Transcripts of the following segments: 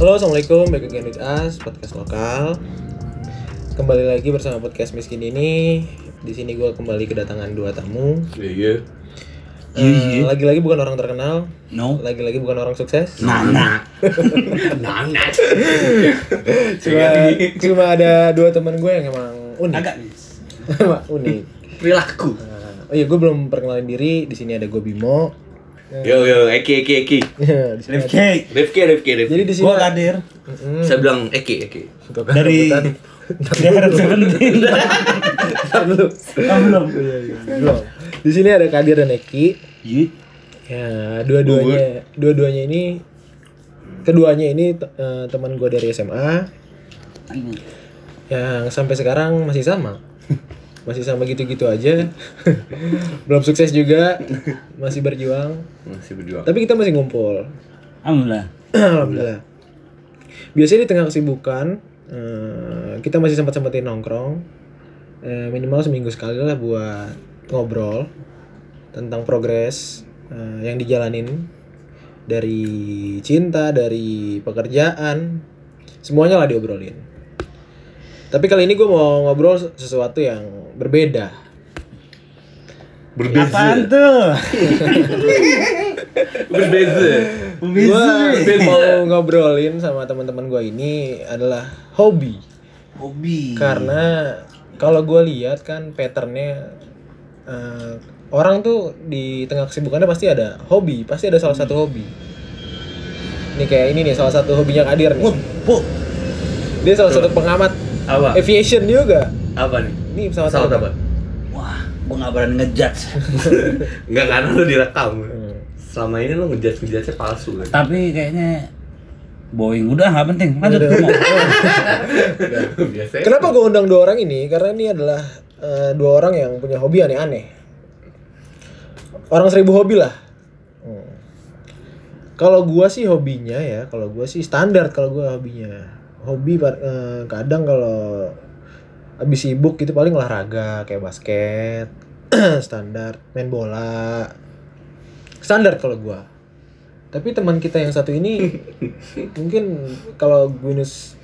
Halo, assalamualaikum. Back again with us, podcast lokal. Kembali lagi bersama podcast miskin ini. Di sini gue kembali kedatangan dua tamu. Iya. Eh, Lagi-lagi bukan orang terkenal. No. Lagi-lagi bukan orang sukses. Nana. Nana. Cuma, cuma ada dua teman gue yang emang unik. Agak gitu. Emang unik. perilaku. Nah, oh iya, gue belum perkenalin diri. Di sini ada gue Bimo. Yo yo, Eki Eki Eki. Di sini ada- Rifki. Rifki Rifki Rifki. Jadi di sini Gue hadir Mm-mm. Saya bilang Eki Eki. Tuh kan, dari rebutan. Jakarta Seventeen. Ntar dulu. Oh, belum. Iya, iya, belum. Di sini ada Kadir dan Eki. Ya, dua-duanya, dua-duanya ini, keduanya ini te- eh, teman gue dari SMA yang sampai sekarang masih sama, masih sama gitu-gitu aja, belum sukses juga, masih berjuang, Masih berjuang. tapi kita masih ngumpul, Alhamdulillah. alhamdulillah. Biasanya di tengah kesibukan eh, kita masih sempat-sempatin nongkrong, Eh, minimal seminggu sekali lah buat ngobrol tentang progres eh, yang dijalanin dari cinta, dari pekerjaan, semuanya lah diobrolin. Tapi kali ini gue mau ngobrol sesuatu yang berbeda. Apaan tuh? Berbeza. Gue Berbeza. mau ngobrolin sama teman-teman gue ini adalah hobi. Hobi. Karena kalau gue lihat kan patternnya eh, orang tuh di tengah kesibukannya pasti ada hobi, pasti ada salah Hmm. satu hobi. Ini kayak ini nih salah satu hobinya Kadir nih. Put, put. Dia salah satu pengamat Apa? aviation juga. Apa nih? Ini pesawat, Pesawat apa? Wah, gue gak berani ngejudge. Enggak karena lu direkam. Hmm. Selama ini lu ngejudge ngejudge palsu kan. Tapi kayaknya Boeing udah nggak penting. Lanjut Udah. gue mau. Biasa. Iya. Kenapa gue undang dua orang ini? Karena ini adalah eh, dua orang yang punya hobi aneh-aneh. Orang seribu hobi lah. Hmm. Kalau gua sih hobinya ya, kalau gua sih standar kalau gua hobinya. Hobi par- eh, kadang kalau habis sibuk gitu paling olahraga kayak basket, standar, main bola. Standar kalau gua. Tapi teman kita yang satu ini mungkin kalau Guinness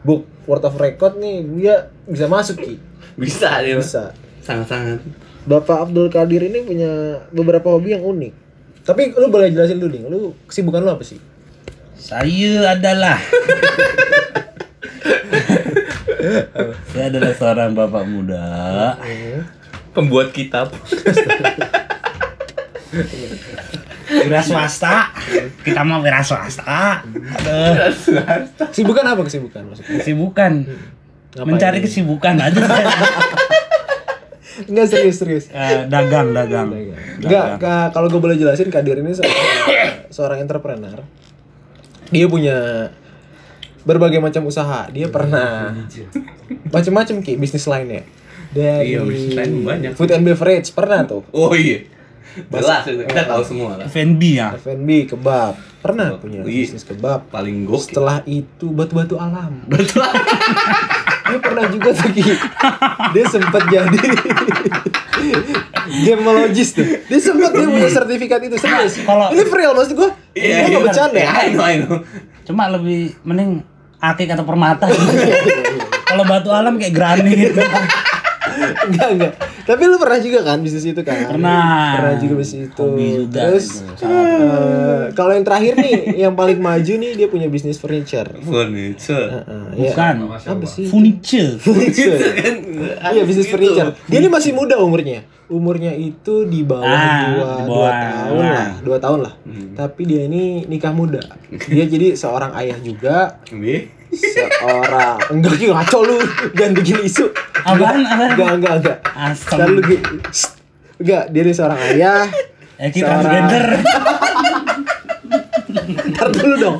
Book World of Record nih dia bisa masuk Ki. Bisa dia. Bisa. Sangat-sangat. Bapak Abdul Kadir ini punya beberapa hobi yang unik. Tapi lu boleh jelasin dulu nih, lu kesibukan lu apa sih? Saya adalah Saya adalah seorang bapak muda Pembuat kitab. Wira swasta Kita mau wira swasta Hmm. Ah. Aduh. Kesibukan apa kesibukan maksudnya? Kesibukan Ngapain? Mencari kesibukan aja saya. Enggak serius serius. Eh, Dagang, dagang Enggak, ka- kalau gue boleh jelasin Kadir ini seorang, seorang entrepreneur. Dia punya berbagai macam usaha. Dia pernah macam-macam ki bisnis lainnya. Dari Iya, bisnis lain banyak. Food and beverage pernah tuh. Oh iya. Jelas itu. kita tahu semua lah. F&B ya F&B kebab. Pernah punya Iya. bisnis kebab. Paling gokil. Setelah itu batu-batu alam. Dia pernah juga tuh Ki. Dia sempat jadi gemologis tuh. Dia sempat dia punya sertifikat itu serius. Kalau- Ini real maksud gua. Iya, Ini iya. nggak bercanda. ya? Iya, I know, I know. Cuma lebih Mending akik atau permata Kalau batu alam kayak granit Enggak, enggak. Tapi lu pernah juga kan bisnis itu kan? Pernah. Pernah juga bisnis itu. Hobi juga gitu, Terus itu. eh, kalau yang terakhir nih, yang paling maju nih dia punya bisnis furniture. Furniture. Heeh, iya. Bukan Apa sih? Furniture Furniture. Kan, Iya bisnis gitu. furniture. Dia ini masih muda umurnya. Umurnya itu di bawah Ah, dua, di dua bawah. Hmm. tahun lah, dua tahun lah. Tapi dia ini nikah muda. Dia jadi seorang ayah juga, Bi? seorang enggak gitu ngaco lu jangan bikin isu. Apaan, apaan? Enggak enggak enggak. Asem. Ntar lu gi- Shh. enggak dia ini seorang ayah. Eh, kita Seorang- transgender Ntar dulu dong.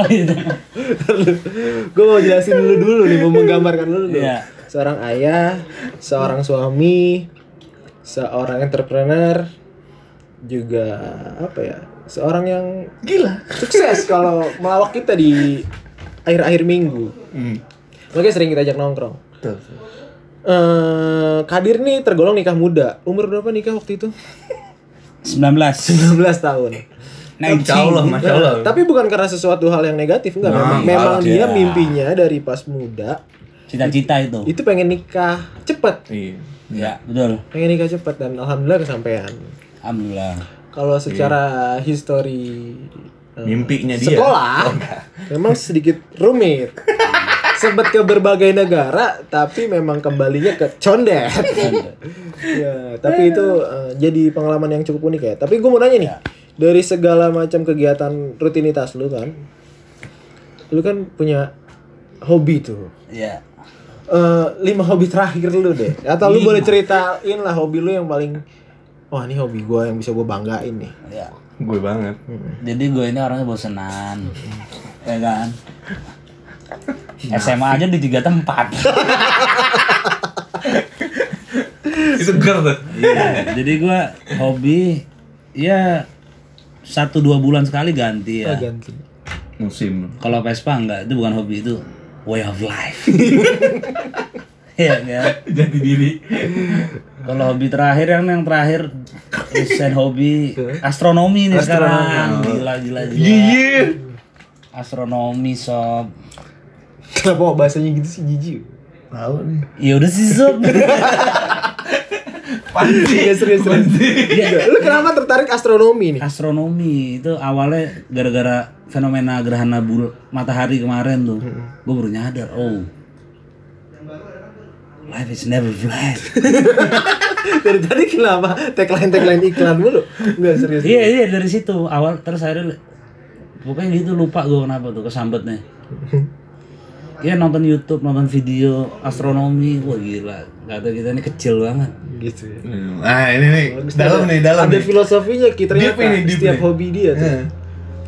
Gue mau jelasin dulu dulu nih, mau menggambarkan dulu dulu. Iya. Seorang ayah, seorang suami, seorang entrepreneur, juga apa ya, seorang yang Gila. sukses kalau melawak kita di akhir-akhir minggu. Makanya sering kita ajak nongkrong. Eh, Kadir nih tergolong nikah muda. Umur berapa nikah waktu itu? 19 19 tahun. Nah, Insya Allah, masya Ya Allah. Tapi bukan karena sesuatu hal yang negatif enggak. Nah, memang memang enggak. dia Ya. mimpinya dari pas muda cita-cita itu. itu pengen nikah cepet, Iya. Ya, betul. pengen nikah cepet dan alhamdulillah kesampaian. Alhamdulillah. Kalau secara history eh, Mimpinya dia. sekolah memang sedikit rumit. Sempet ke berbagai negara, tapi memang kembalinya ke condet. ya, tapi itu eh, jadi pengalaman yang cukup unik ya. Tapi gue mau nanya nih, dari segala macam kegiatan rutinitas lu kan, lu kan punya hobi tuh. Ya. Eh, lima hobi terakhir lu deh atau lu boleh ceritain lah hobi lu yang paling wah ini hobi gua yang bisa gua banggain nih Ya. Gue banget. Jadi gue ini orangnya bosenan. ya kan? SMA aja di tiga tempat. Segar tuh. Iya, jadi gue hobi ya satu dua bulan sekali ganti ya. ganti Musim. Kalau Vespa enggak, itu bukan hobi itu way of life. Iya kan? Jadi diri. Kalau hobi terakhir yang yang terakhir desain hobi astronomi nih sekarang. Gila gila gila. Iya. Astronomi sob. kenapa bahasanya gitu sih jijik Tahu nih. Ya udah sih sob. Panci. Iya, serius, serius. Iya, lu kenapa tertarik astronomi nih astronomi itu awalnya gara-gara fenomena gerhana bul matahari kemarin tuh. Gue baru nyadar, oh. Life is never flat. dari tadi kenapa tagline tagline iklan mulu nggak serius Iya iya dari situ awal terus akhirnya li- pokoknya gitu lupa gue kenapa tuh kesambetnya. Iya nonton YouTube, nonton video astronomi, wah gila. Kata kita ini kecil banget. gitu ya Ah ini nih. Dalam nih, dalam ada nih. filosofinya kita ternyata Deep ini, Iya. deep setiap nih. hobi dia tuh Eh,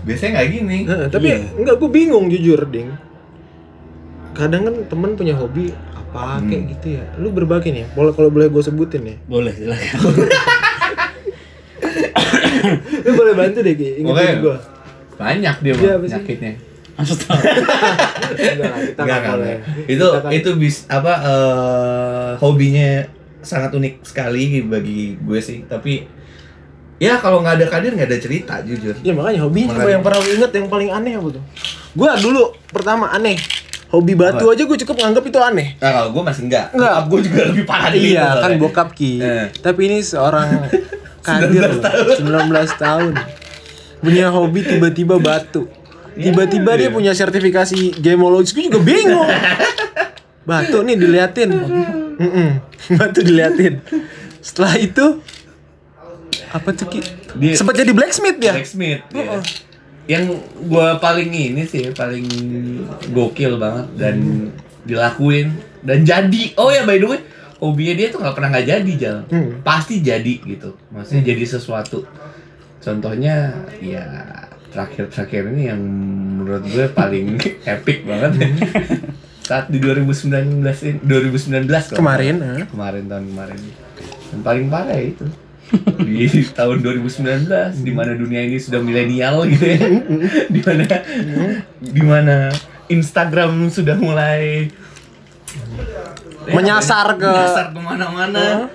Biasanya nggak gini. Heeh, tapi enggak gue bingung jujur ding kadang kan temen punya hobi apa Hmm. kayak gitu ya lu berbagi nih boleh kalau boleh gue sebutin ya Boleh silakan. lu boleh bantu deh Ki, ingetin Oke. gue Banyak dia Iya, bang apa sih? penyakitnya. Astro- enggak lah, kita nggak Nggak, boleh nggak. Itu Kita kan- itu bis apa eh, hobinya sangat unik sekali bagi gue sih. Tapi ya kalau nggak ada kadir nggak ada cerita jujur. ya makanya hobi apa Makanya. yang pernah lu inget yang paling aneh apa tuh gue dulu pertama aneh hobi batu aja gue cukup nganggap itu aneh Nah kalau gue masih enggak. Nggak. Bokap gue juga lebih parah dari itu iya kan soalnya. bokap ki Eh. tapi ini seorang kadir 19 tahun. 19 tahun punya hobi tiba-tiba batu Iya. tiba-tiba dia punya sertifikasi gemologis gue juga bingung batu nih diliatin Mm-mm. batu diliatin setelah itu apa tuh ki Dia- sempat jadi blacksmith dia Blacksmith ya. Yang gue paling ini sih paling gokil banget dan Mm. dilakuin dan jadi. Oh ya by the way, hobinya dia tuh nggak pernah nggak jadi jalan. Hmm. Pasti jadi gitu. Maksudnya Mm. jadi sesuatu. Contohnya ya terakhir-terakhir ini yang menurut gue paling epic Mm. banget saat di 2019 ini 2019 kalau Kemarin, nggak salah. eh. kemarin tahun kemarin yang paling parah ya itu di tahun 2019 di mana dunia ini sudah milenial gitu ya di mana di mana Instagram sudah mulai ya, Menyasar ke- menyasar kemana-mana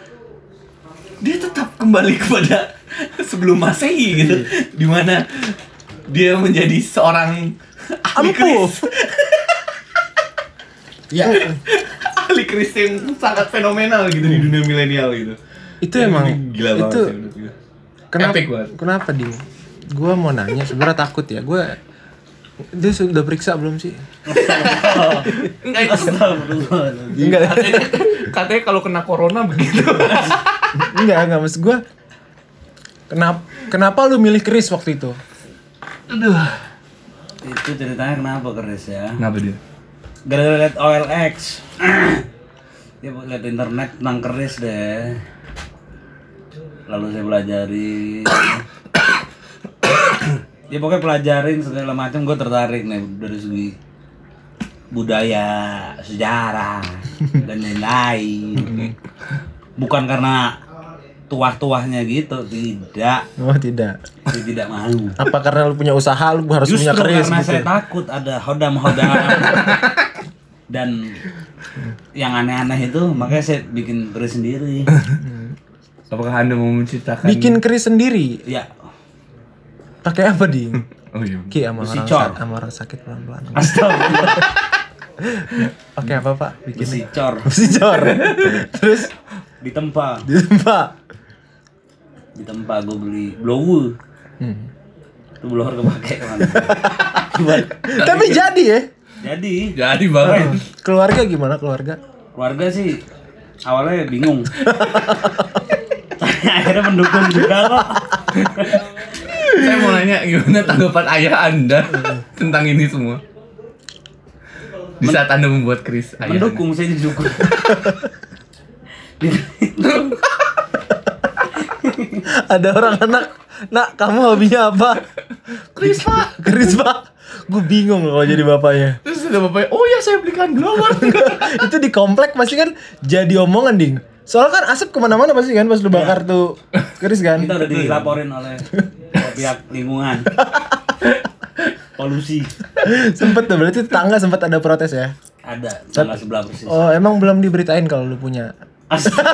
dia tetap kembali kepada sebelum masehi gitu di mana dia menjadi seorang ahli Ampuh. keris Iya. ya ahli Kristen sangat fenomenal gitu di dunia milenial gitu. itu emang gila banget itu sih menurut gue. Kenapa? Epic banget. Kenapa Dim? Gue mau nanya, sebenarnya takut ya. Gue dia sudah periksa belum sih? Enggak itu Enggak, katanya, katanya kalau kena corona begitu. enggak, enggak mas gue. Kenapa? Kenapa lu milih keris waktu itu? Aduh. itu ceritanya kenapa keris ya? Kenapa dia? Gara-gara liat OLX. ya bu, liat internet tentang keris deh. Lalu saya pelajari. ya pokoknya pelajarin segala macam gue tertarik nih dari segi budaya, sejarah dan lain-lain. Bukan karena tuah-tuahnya gitu, tidak. Oh tidak. Saya tidak mau. Apa karena lu punya usaha lu harus Justru punya keris karena gitu? saya takut ada hodam-hodam dan yang aneh-aneh itu makanya saya bikin keris sendiri. Apakah Anda mau menceritakan Bikin keris sendiri. ya Pakai apa ding? Oh iya. Ki sama orang, Besicor. sa- sama orang sakit pelan-pelan. Astaga. Pakai apa pak? Bikin Besicor. besicor. Terus Ditempa. ditempa. Ditempa gue beli blower. Hmm. Itu blower kepake kemana. Buat- Tapi jadi ya. Jadi Jadi banget. Keluarga gimana keluarga? keluarga sih awalnya bingung. Akhirnya mendukung juga kok. Saya mau nanya gimana tanggapan ayah Anda tentang ini semua? Di saat Anda membuat kris Iya. ayah Mendukung saya didukung. Ada orang anak. Nak, kamu hobinya apa? Kris pak. Kris pak. Gue bingung loh kalau jadi bapaknya. Anda. Terus ada bapaknya, oh ya saya belikan blower. itu di komplek pasti kan jadi omongan ding soalnya kan asap kemana-mana pasti kan pas lu bakar tuh keris kan Kita udah dilaporin oleh pihak lingkungan. Polusi sempet tuh berarti tetangga sempet ada protes ya ada tanggal sebelah persis. oh emang belum diberitain kalau lu punya Astaga.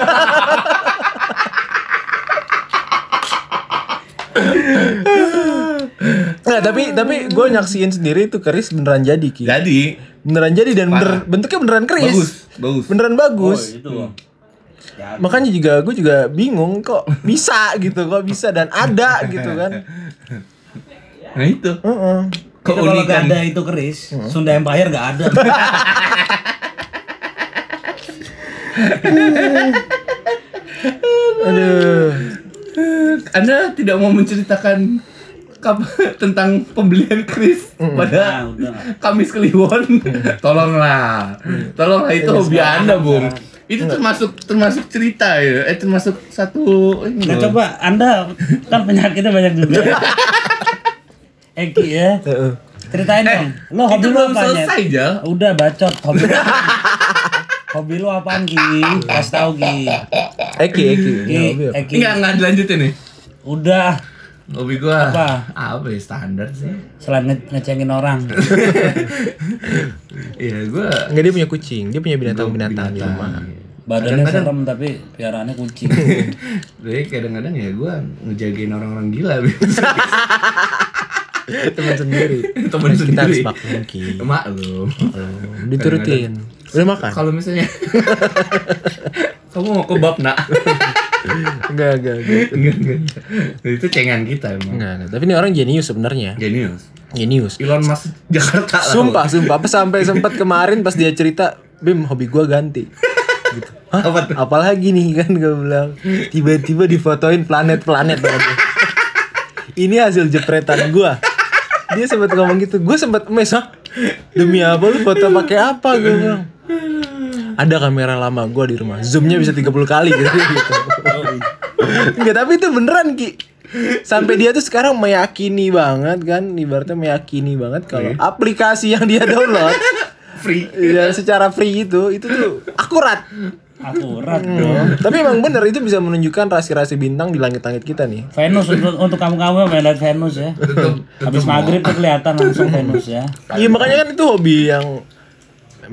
nggak tapi tapi gue nyaksiin sendiri itu keris beneran jadi ki Jadi beneran jadi dan bener, bentuknya beneran keris bagus, bagus. beneran Oh, bagus itu. Ya, makanya juga gue juga bingung kok bisa gitu kok bisa dan ada gitu kan Nah itu kan Heeh. Itu kalau nggak keunikan. ada itu keris, Sunda Empire nggak ada. aduh Anda tidak mau menceritakan kap- tentang pembelian kris pada Nah, udah. Kamis Kliwon. Hmm. Tolonglah. Tolonglah Iya, itu hobi Anda, Bung. Hmm. Itu termasuk termasuk cerita ya. Eh termasuk satu ini. Nah, loh. coba Anda kan penyakitnya banyak juga. Eki ya. Heeh. Ceritain dong. Lo hobi Itu lo belum apa Nyet? selesai, Jal. Udah bacot hobi. lo- hobi lo apaan Ki? Kasih tahu Ki. Eki, Eki, Ki, Ya, hobi apa? Eki. Enggak, enggak dilanjutin nih. Udah Hobi gua Apa? Apa ya standar sih? selain nge- ngecengin orang. Iya, gua Enggak dia punya kucing, dia punya binatang-binatang di rumah. Badannya serem tapi piaraannya kucing. Jadi kadang-kadang ya gua ngejagain orang-orang gila biasa. Teman sendiri. Temen Kita sendiri. harus maklumin Ki. Maklum. Diturutin. Udah makan? Kalau misalnya kamu mau kebab nak? Enggak, enggak, enggak. enggak, enggak. Nah, Itu cengan kita emang. Enggak, enggak. Tapi ini orang jenius sebenarnya. Genius. Jenius. Elon Musk Jakarta lah. Sumpah, sumpah. Apa sampai sempat kemarin pas dia cerita, "Bim, hobi gua ganti." Gitu. Hah? Apa tuh? Apalagi nih kan gue bilang tiba-tiba difotoin planet-planet banget. Ini hasil jepretan gua. Dia sempat ngomong gitu. Gue sempat mes, "Hah? Demi apa lu foto pakai apa?" Gue bilang. Ada kamera lama gua di rumah. Zoomnya bisa 30 kali gitu. gitu. Enggak, tapi itu beneran Ki. Sampai dia tuh sekarang meyakini banget kan, ibaratnya meyakini banget kalau aplikasi yang dia download Free. ya secara free itu itu tuh akurat. Akurat dong. Hmm. Tapi emang bener itu bisa menunjukkan rasi-rasi bintang di langit-langit kita nih. Venus untuk, untuk kamu-kamu yang main lihat Venus ya. Tutup, Habis maghrib tuh kelihatan langsung Venus ya. Iya makanya kan itu hobi yang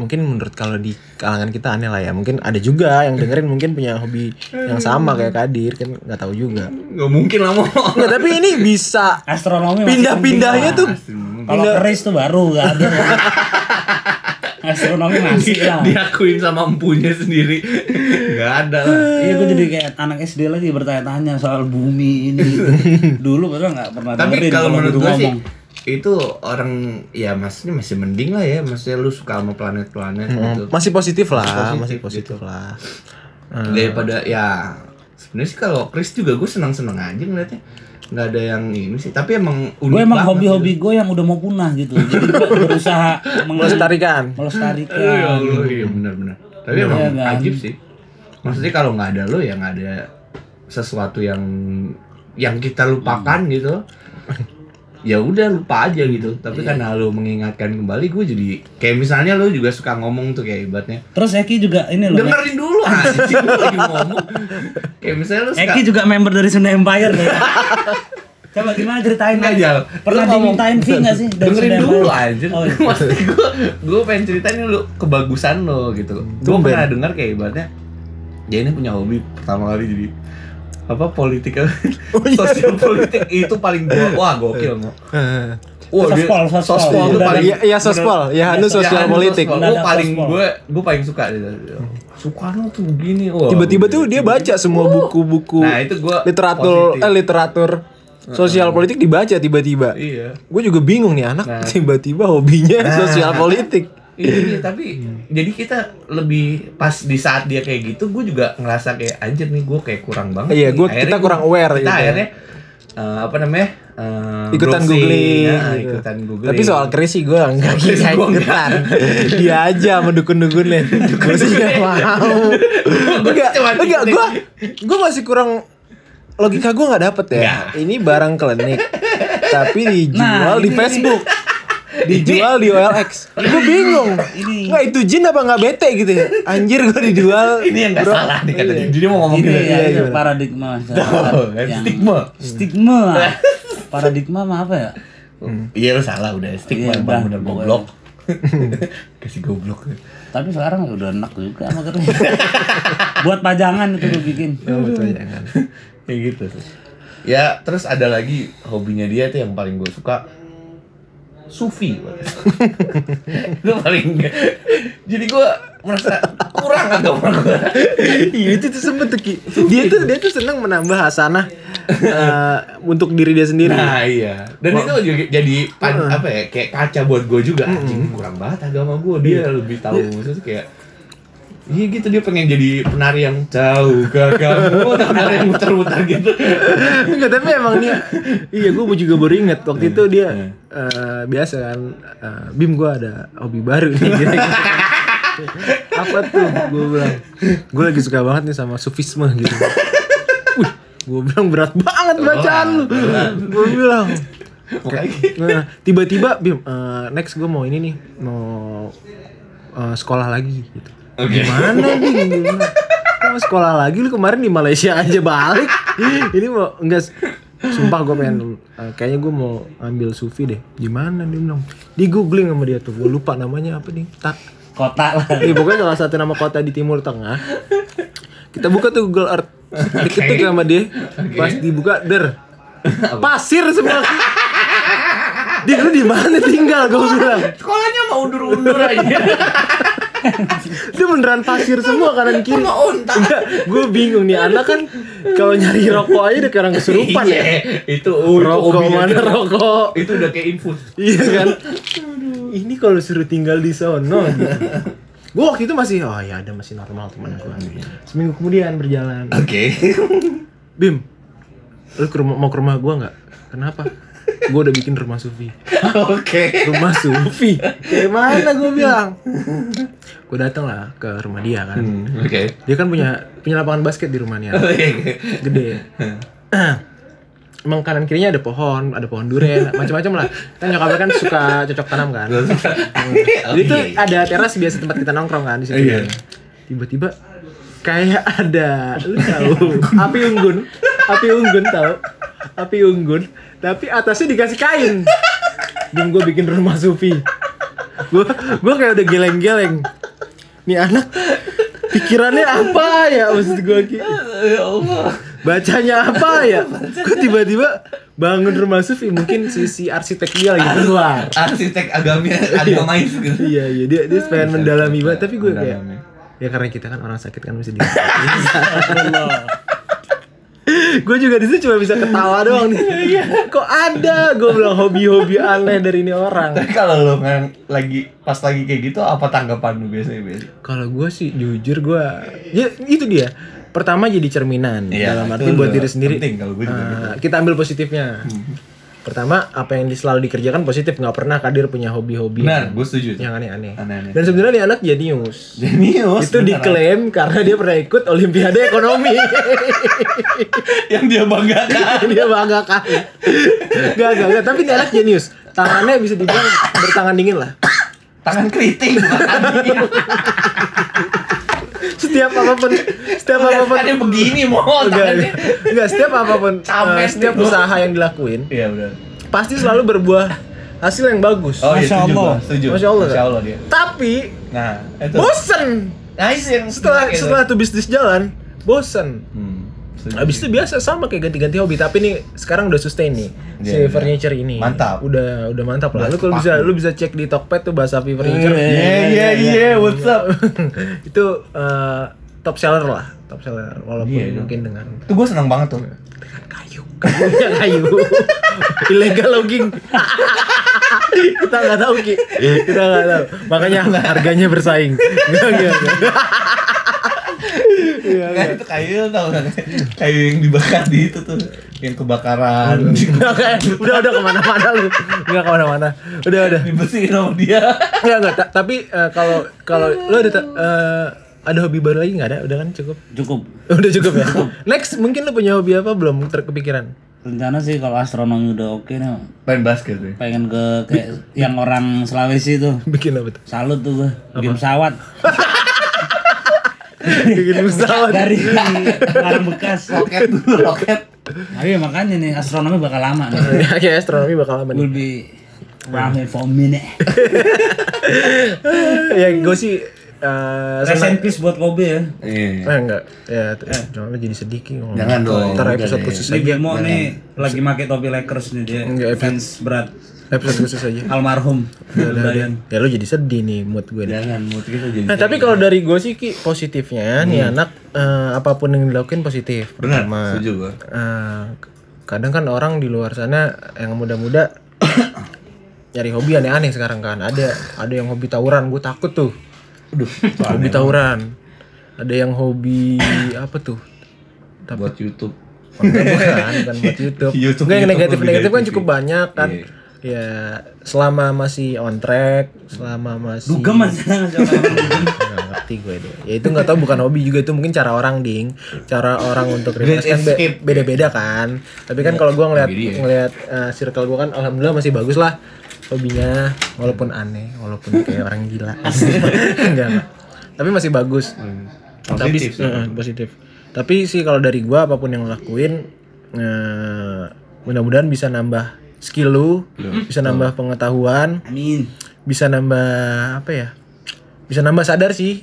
mungkin menurut kalau di kalangan kita aneh lah ya. Mungkin ada juga yang dengerin mungkin punya hobi yang sama kayak Kadir kan nggak tahu juga. Nggak mungkin lah mau. Nggak, tapi ini bisa Astronomi masih pindah-pindahnya penting tuh lah. Kalau keris tuh baru gak ada. ya. Astronomi masih lah. Diakuin sama empunya sendiri. Nggak ada lah. Iya gue jadi kayak anak SD lagi bertanya-tanya soal bumi ini. Dulu padahal gak pernah Tapi dengerin kalau menurut guru gua sih ngomong. itu orang ya maksudnya masih mending lah ya maksudnya lu suka sama planet-planet Hmm. gitu masih positif lah, Positif gitu. masih positif lah. Hmm. daripada ya sebenarnya sih kalau Chris juga gue senang senang aja ngeliatnya nggak ada yang ini sih tapi emang unik Gue emang banget gitu. hobi-hobi gue yang udah mau punah gitu. Jadi gue berusaha meng- Melestarikan. Eh, ya melestarikan. Allah iya benar-benar tapi emang Iya, kan? ajib sih maksudnya kalau nggak ada lo ya nggak ada sesuatu yang yang kita lupakan gitu ya udah lupa aja gitu tapi karena lo mengingatkan kembali gue jadi kayak misalnya lo juga suka ngomong tuh kayak ibatnya Terus Eki juga ini loh. dengerin dulu anjing gua lagi ngomong kayak misalnya lo suka Eki juga member dari Sunda Empire loh. ya. Coba gimana ceritain? Enggak, Eki? Jal. iya. Pernah Lu ngomong- dimintain fee nggak sih? dari Kan dengerin Sunda dulu Empire? anjir Oh, iya. maksudnya gue gue pengen ceritain dulu kebagusan lo gitu gue Tumben. pernah dengar kayak ibaratnya dia ini punya hobi pertama kali jadi apa politik sosial politik itu paling gua wah gokil mau wah Itu sospol, dia- sospol. sospol itu Iya, paling Iya, iya sospol. Ya, anu Ya, sosial anu politik. sospol. Mendadak Gua paling sospol. gue gue paling suka gitu. Soekarno tuh begini wah. Tiba-tiba tuh dia baca semua buku-buku Nah, itu gua literatur positif. Uh-uh. eh literatur sosial politik dibaca tiba-tiba. Iya. Gue juga bingung nih anak Nah. tiba-tiba hobinya sosial politik. Iya, iya, tapi jadi kita lebih pas di saat dia kayak gitu, gue juga ngerasa kayak anjir nih gue kayak kurang banget. Iya, nih." gua- kita gua- kurang aware kita gitu ya. Akhirnya eh, apa namanya? eh, Ikutan browsing, googling. ya, gitu. ikutan googling. Tapi soal Chris sih gue enggak Chris kisah gua enggak. ikutan. Dia aja mendukun-dukunnya. Gue sih nggak mau. Enggak, Cuma gitu. enggak dikit. gue gue masih kurang logika gue nggak dapet ya. Nggak. Ini barang klinik tapi dijual Nah, di ini- Facebook. Dijual di OLX Gue bingung Ini. Nggak itu jin apa nggak bete gitu ya Anjir gue dijual ini yang nggak Bro. salah nih kata Iya. dia. Dia mau ngomong Ini gitu. ya, iya, itu gimana? paradigma Oh, masyarakat yang stigma. stigma. paradigma mah apa ya? Hmm. Iya lu salah udah stigma emang Iya, udah, bener pokoknya. goblok. Kasih goblok. Tapi sekarang ya udah enak juga makernya. Buat pajangan itu gue bikin. ya gitu. Ya terus ada lagi hobinya dia tuh yang paling gue suka sufi. itu paling jadi gue merasa kurang agama gue. Iya itu tuh sempet tuh Ki. Dia tuh dia tuh seneng menambah hasanah eh, untuk diri dia sendiri. Nah iya. Dan itu juga jadi pan, apa ya kayak kaca buat gue juga. Anjing kurang banget agama gue dia lebih tahu maksudnya kayak Iya gitu dia pengen jadi penari yang jauh gagal, oh, penari yang muter-muter gitu. Enggak tapi emang dia iya gue juga baru inget waktu itu dia iya. eh, biasa kan eh, Bim gue ada hobi baru nih. Dia gitu. Apa tuh gue bilang gue lagi suka banget nih sama sufisme gitu. Wih, gue bilang berat banget bacaan lu. Oh, Berat. Gue bilang Makanya Nah, tiba-tiba Bim eh, next gue mau ini nih mau eh, sekolah lagi gitu. Oke. Gimana nih? Gimana? Lu mau sekolah lagi lu kemarin di Malaysia aja balik. Ini mau enggak sumpah gue pengen eh, kayaknya gue mau ambil sufi deh. Gimana dia bilang? Di googling sama dia tuh. Gue lupa namanya apa nih. Tak Kota lah. Iya pokoknya salah satu nama kota di Timur Tengah. Kita buka tuh Google Earth. Diketik sama dia. Pas dibuka der. Pasir semua. Dia lu di mana tinggal gue bilang. sekolahnya mau undur-undur aja. Itu beneran pasir semua kanan kiri. Sama unta. Gue bingung nih anak kan kalau nyari rokok aja udah kayak orang kesurupan ya. Iya, Itu oh, itu Rokok hobinya mana dia. rokok? Itu udah kayak infus. Iya kan? Ini kalau suruh tinggal di sono gitu. Gue waktu itu masih, oh ya ada masih normal teman gue. Seminggu kemudian berjalan. Oke. Bim, lu ke rumah, mau ke rumah gua nggak? Kenapa? gua udah bikin rumah Sufi. Oke. Rumah Sufi? Kayak mana gua bilang? Gua datang lah ke rumah dia kan. Hmm, Oke. Dia kan punya punya lapangan basket di rumahnya, Oke. gede. Emang kanan kirinya ada pohon, ada pohon durian, macam-macam lah. Kita nyokapnya kan suka cocok tanam kan. Jadi tuh Oke. ada teras biasa tempat kita nongkrong kan di situ. Oh, Iya. kan. Tiba-tiba kayak ada lu tahu api unggun. Api unggun tahu. Api unggun, tapi atasnya dikasih kain. Dan gue bikin rumah sufi. Gue gue kayak udah geleng-geleng. Nih anak pikirannya apa ya maksud gue Ki? Ya Allah. Bacanya apa ya? Gue tiba-tiba bangun rumah sufi mungkin sisi arsitek dia lagi keluar. Arsitek agamnya agamais gitu. Iya iya dia dia pengen mendalami banget tapi gue kayak Mendalami. ya karena kita kan orang sakit kan mesti di gue juga di situ cuma bisa ketawa doang nih. Iya. Kok ada? Gue bilang hobi-hobi aneh dari ini orang. Tapi kalau lo nggak lagi pas lagi kayak gitu apa tanggapan lu biasanya Bel? Kalau gue sih jujur gue ya itu dia. Pertama jadi cerminan Iya, dalam itu arti buat udah diri sendiri. penting kalau gue juga gitu. Hmm. eh, kita ambil positifnya. Pertama apa yang selalu dikerjakan positif nggak pernah kadir punya hobi-hobi Benar, gue setuju. yang aneh-aneh. Aneh-aneh. Dan sebenarnya nih anak jenius. Jenius. itu beneran. diklaim karena dia pernah ikut Olimpiade Ekonomi. yang dia banggakan. dia bangga kan. Gak, gak, gak. Tapi dia anak jenius. Tangannya bisa dibilang bertangan dingin lah. Tangan keriting. Setiap apapun, setiap apapun. Ada begini mohon Enggak, tangannya. enggak. Setiap apapun, Cames eh, setiap nih, gua. usaha yang dilakuin, Iya udah. pasti selalu berbuah hasil yang bagus. Oh iya, Masya setuju Allah. gua, setuju. Masya Allah, Masya kan? Allah dia. Tapi, Nah, itu. bosen. Nah, itu yang gitu. Setelah menarik itu. setelah tuh bisnis jalan, bosen. Hmm. Abis itu biasa sama kayak ganti-ganti hobi, tapi nih sekarang udah sustain nih si Iya. furniture ini. Mantap. Udah udah mantap lah. Udah Iya, Lu kalau sepaku. bisa lu bisa cek di Tokped tuh bahasa Api furniture. Eh, Yeah, yeah, iya. yeah, iya, what's up? itu eh, top seller lah, top seller walaupun Iya, iya. mungkin dengan Itu gue seneng banget tuh. dengan kayu. Kayunya kayu. Ilegal logging. kita nggak tahu ki kita nggak tahu makanya harganya bersaing Nggak, nggak, nggak. Iya, Kan itu kayu tau kan? Kayu yang dibakar di itu tuh, yang kebakaran. Nggak, kayak- udah udah kemana-mana lu nggak kemana-mana udah udah Dibersihin sama dia. nggak nggak Ta- tapi eh, kalau kalau lu ada ta- eh, ada hobi baru lagi nggak ada udah kan cukup Cukup. udah cukup ya next mungkin lu punya hobi apa belum terkepikiran Rencana sih kalau astronomi udah oke nih, Main basket deh. pengen ke kayak yang orang Sulawesi tuh. bikin apa tuh Salut tuh gua. Bikin pesawat bikin pesawat dari barang bekas. Roket dulu, roket. Tapi makanya nih astronomi bakal lama nih. Ya, kayak astronomi bakal lama nih. Will be around here for a minute. ya gue sih eh, Rest in peace buat Kobe ya. Iya. Eh enggak, ya t- jangan lu jadi sedih Ki, ngomong. Jangan iya. dong, Gitu, Ntar episode udah khusus Ini aja, Bemo nih lagi pakai topi Lakers nih dia. Enggak, Evan. fans berat episode khusus aja. almarhum Dayan. Ya lu jadi sedih nih mood gue nih. Jangan, mood kita jadi. Nah tapi kalau dari gue sih Ki positifnya nih anak eh, apapun yang dilakuin positif. Benar, Pertama, setuju gue. eh, kadang kan orang di luar sana yang muda-muda nyari hobi aneh-aneh sekarang kan ada ada yang hobi tawuran gue takut tuh Aduh, hobi tawuran ada yang hobi apa tuh tapi buat YouTube. bukan bukan buat YouTube. YouTube, Enggak yang YouTube negatif lebih negatif kan negatif, cukup iya. banyak kan. Iya. Ya selama masih on track, selama masih Dugem aja nggak ngerti gue deh. Ya itu nggak tahu bukan hobi juga itu mungkin cara orang ding, cara orang untuk Great relax kan be- escape. beda-beda kan. Tapi kan kalau gue ngeliat Jadi ya. ngeliat eh, circle gue kan alhamdulillah masih bagus lah hobinya walaupun aneh, walaupun kayak orang gila. Enggak. lah. Tapi masih bagus Hmm. Positif sih. tapi, eh, positif. Tapi sih kalau dari gua apapun yang lo lakuin eh, mudah-mudahan bisa nambah skill lu, Iya. bisa nambah pengetahuan, Amin. bisa nambah apa ya? Bisa nambah sadar sih.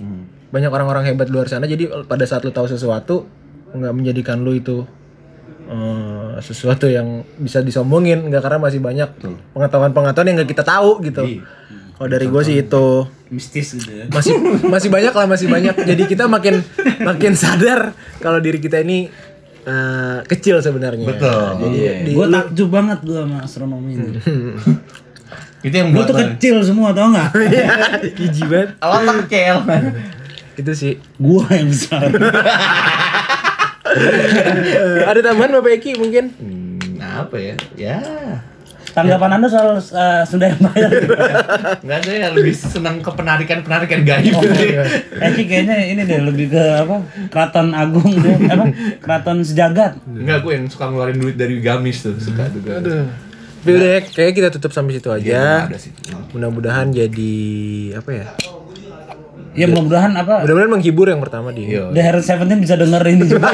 Banyak orang-orang hebat luar sana jadi pada saat lu tahu sesuatu nggak menjadikan lu itu eh, sesuatu yang bisa disombongin nggak karena masih banyak pengetahuan-pengetahuan yang nggak kita tahu gitu. Kalau dari gue sih itu Mistis gitu ya. masih masih banyak lah masih banyak jadi kita makin makin sadar kalau diri kita ini eh, kecil sebenarnya Betul. jadi di, Gue takjub banget gue sama astronomi ini. Itu yang Gue buat tuh kecil semua tau nggak? Iya, jijik banget. Alam kecil. itu sih Gue yang besar. Eh, ada tambahan bapak Eki mungkin Hmm, apa ya? Ya. Tanggapan anda soal uh, Sunda Empire? Enggak ada yang lebih senang ke penarikan-penarikan gaib. Oh, iya. Eki Eh, kayaknya ini deh lebih ke apa? Keraton Agung deh. Apa? Keraton Sejagat. Enggak, gue yang suka ngeluarin duit dari gamis tuh, suka tuh. gua. Tapi udah ya, kayaknya kita tutup sampai situ aja Iya, Ada sih. mudah-mudahan jadi apa ya Ya mudah-mudahan apa? mudah-mudahan menghibur yang pertama di Yo. The Heron Seventeen bisa denger ini juga.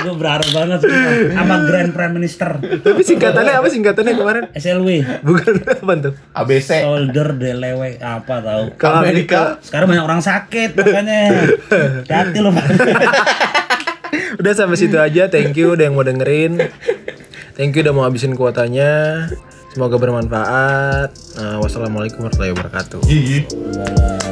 gue berharap banget sumpah. sama Grand Prime Minister tapi singkatannya apa singkatannya kemarin SLW bukan apa tuh ABC. Solder Delewe apa tahu kalau Amerika. sekarang banyak orang sakit makanya hati lo Udah sampai situ aja. Thank you udah yang mau dengerin. Thank you udah mau habisin kuotanya. Semoga bermanfaat. Nah, wassalamualaikum warahmatullahi wabarakatuh. Iya. Bye.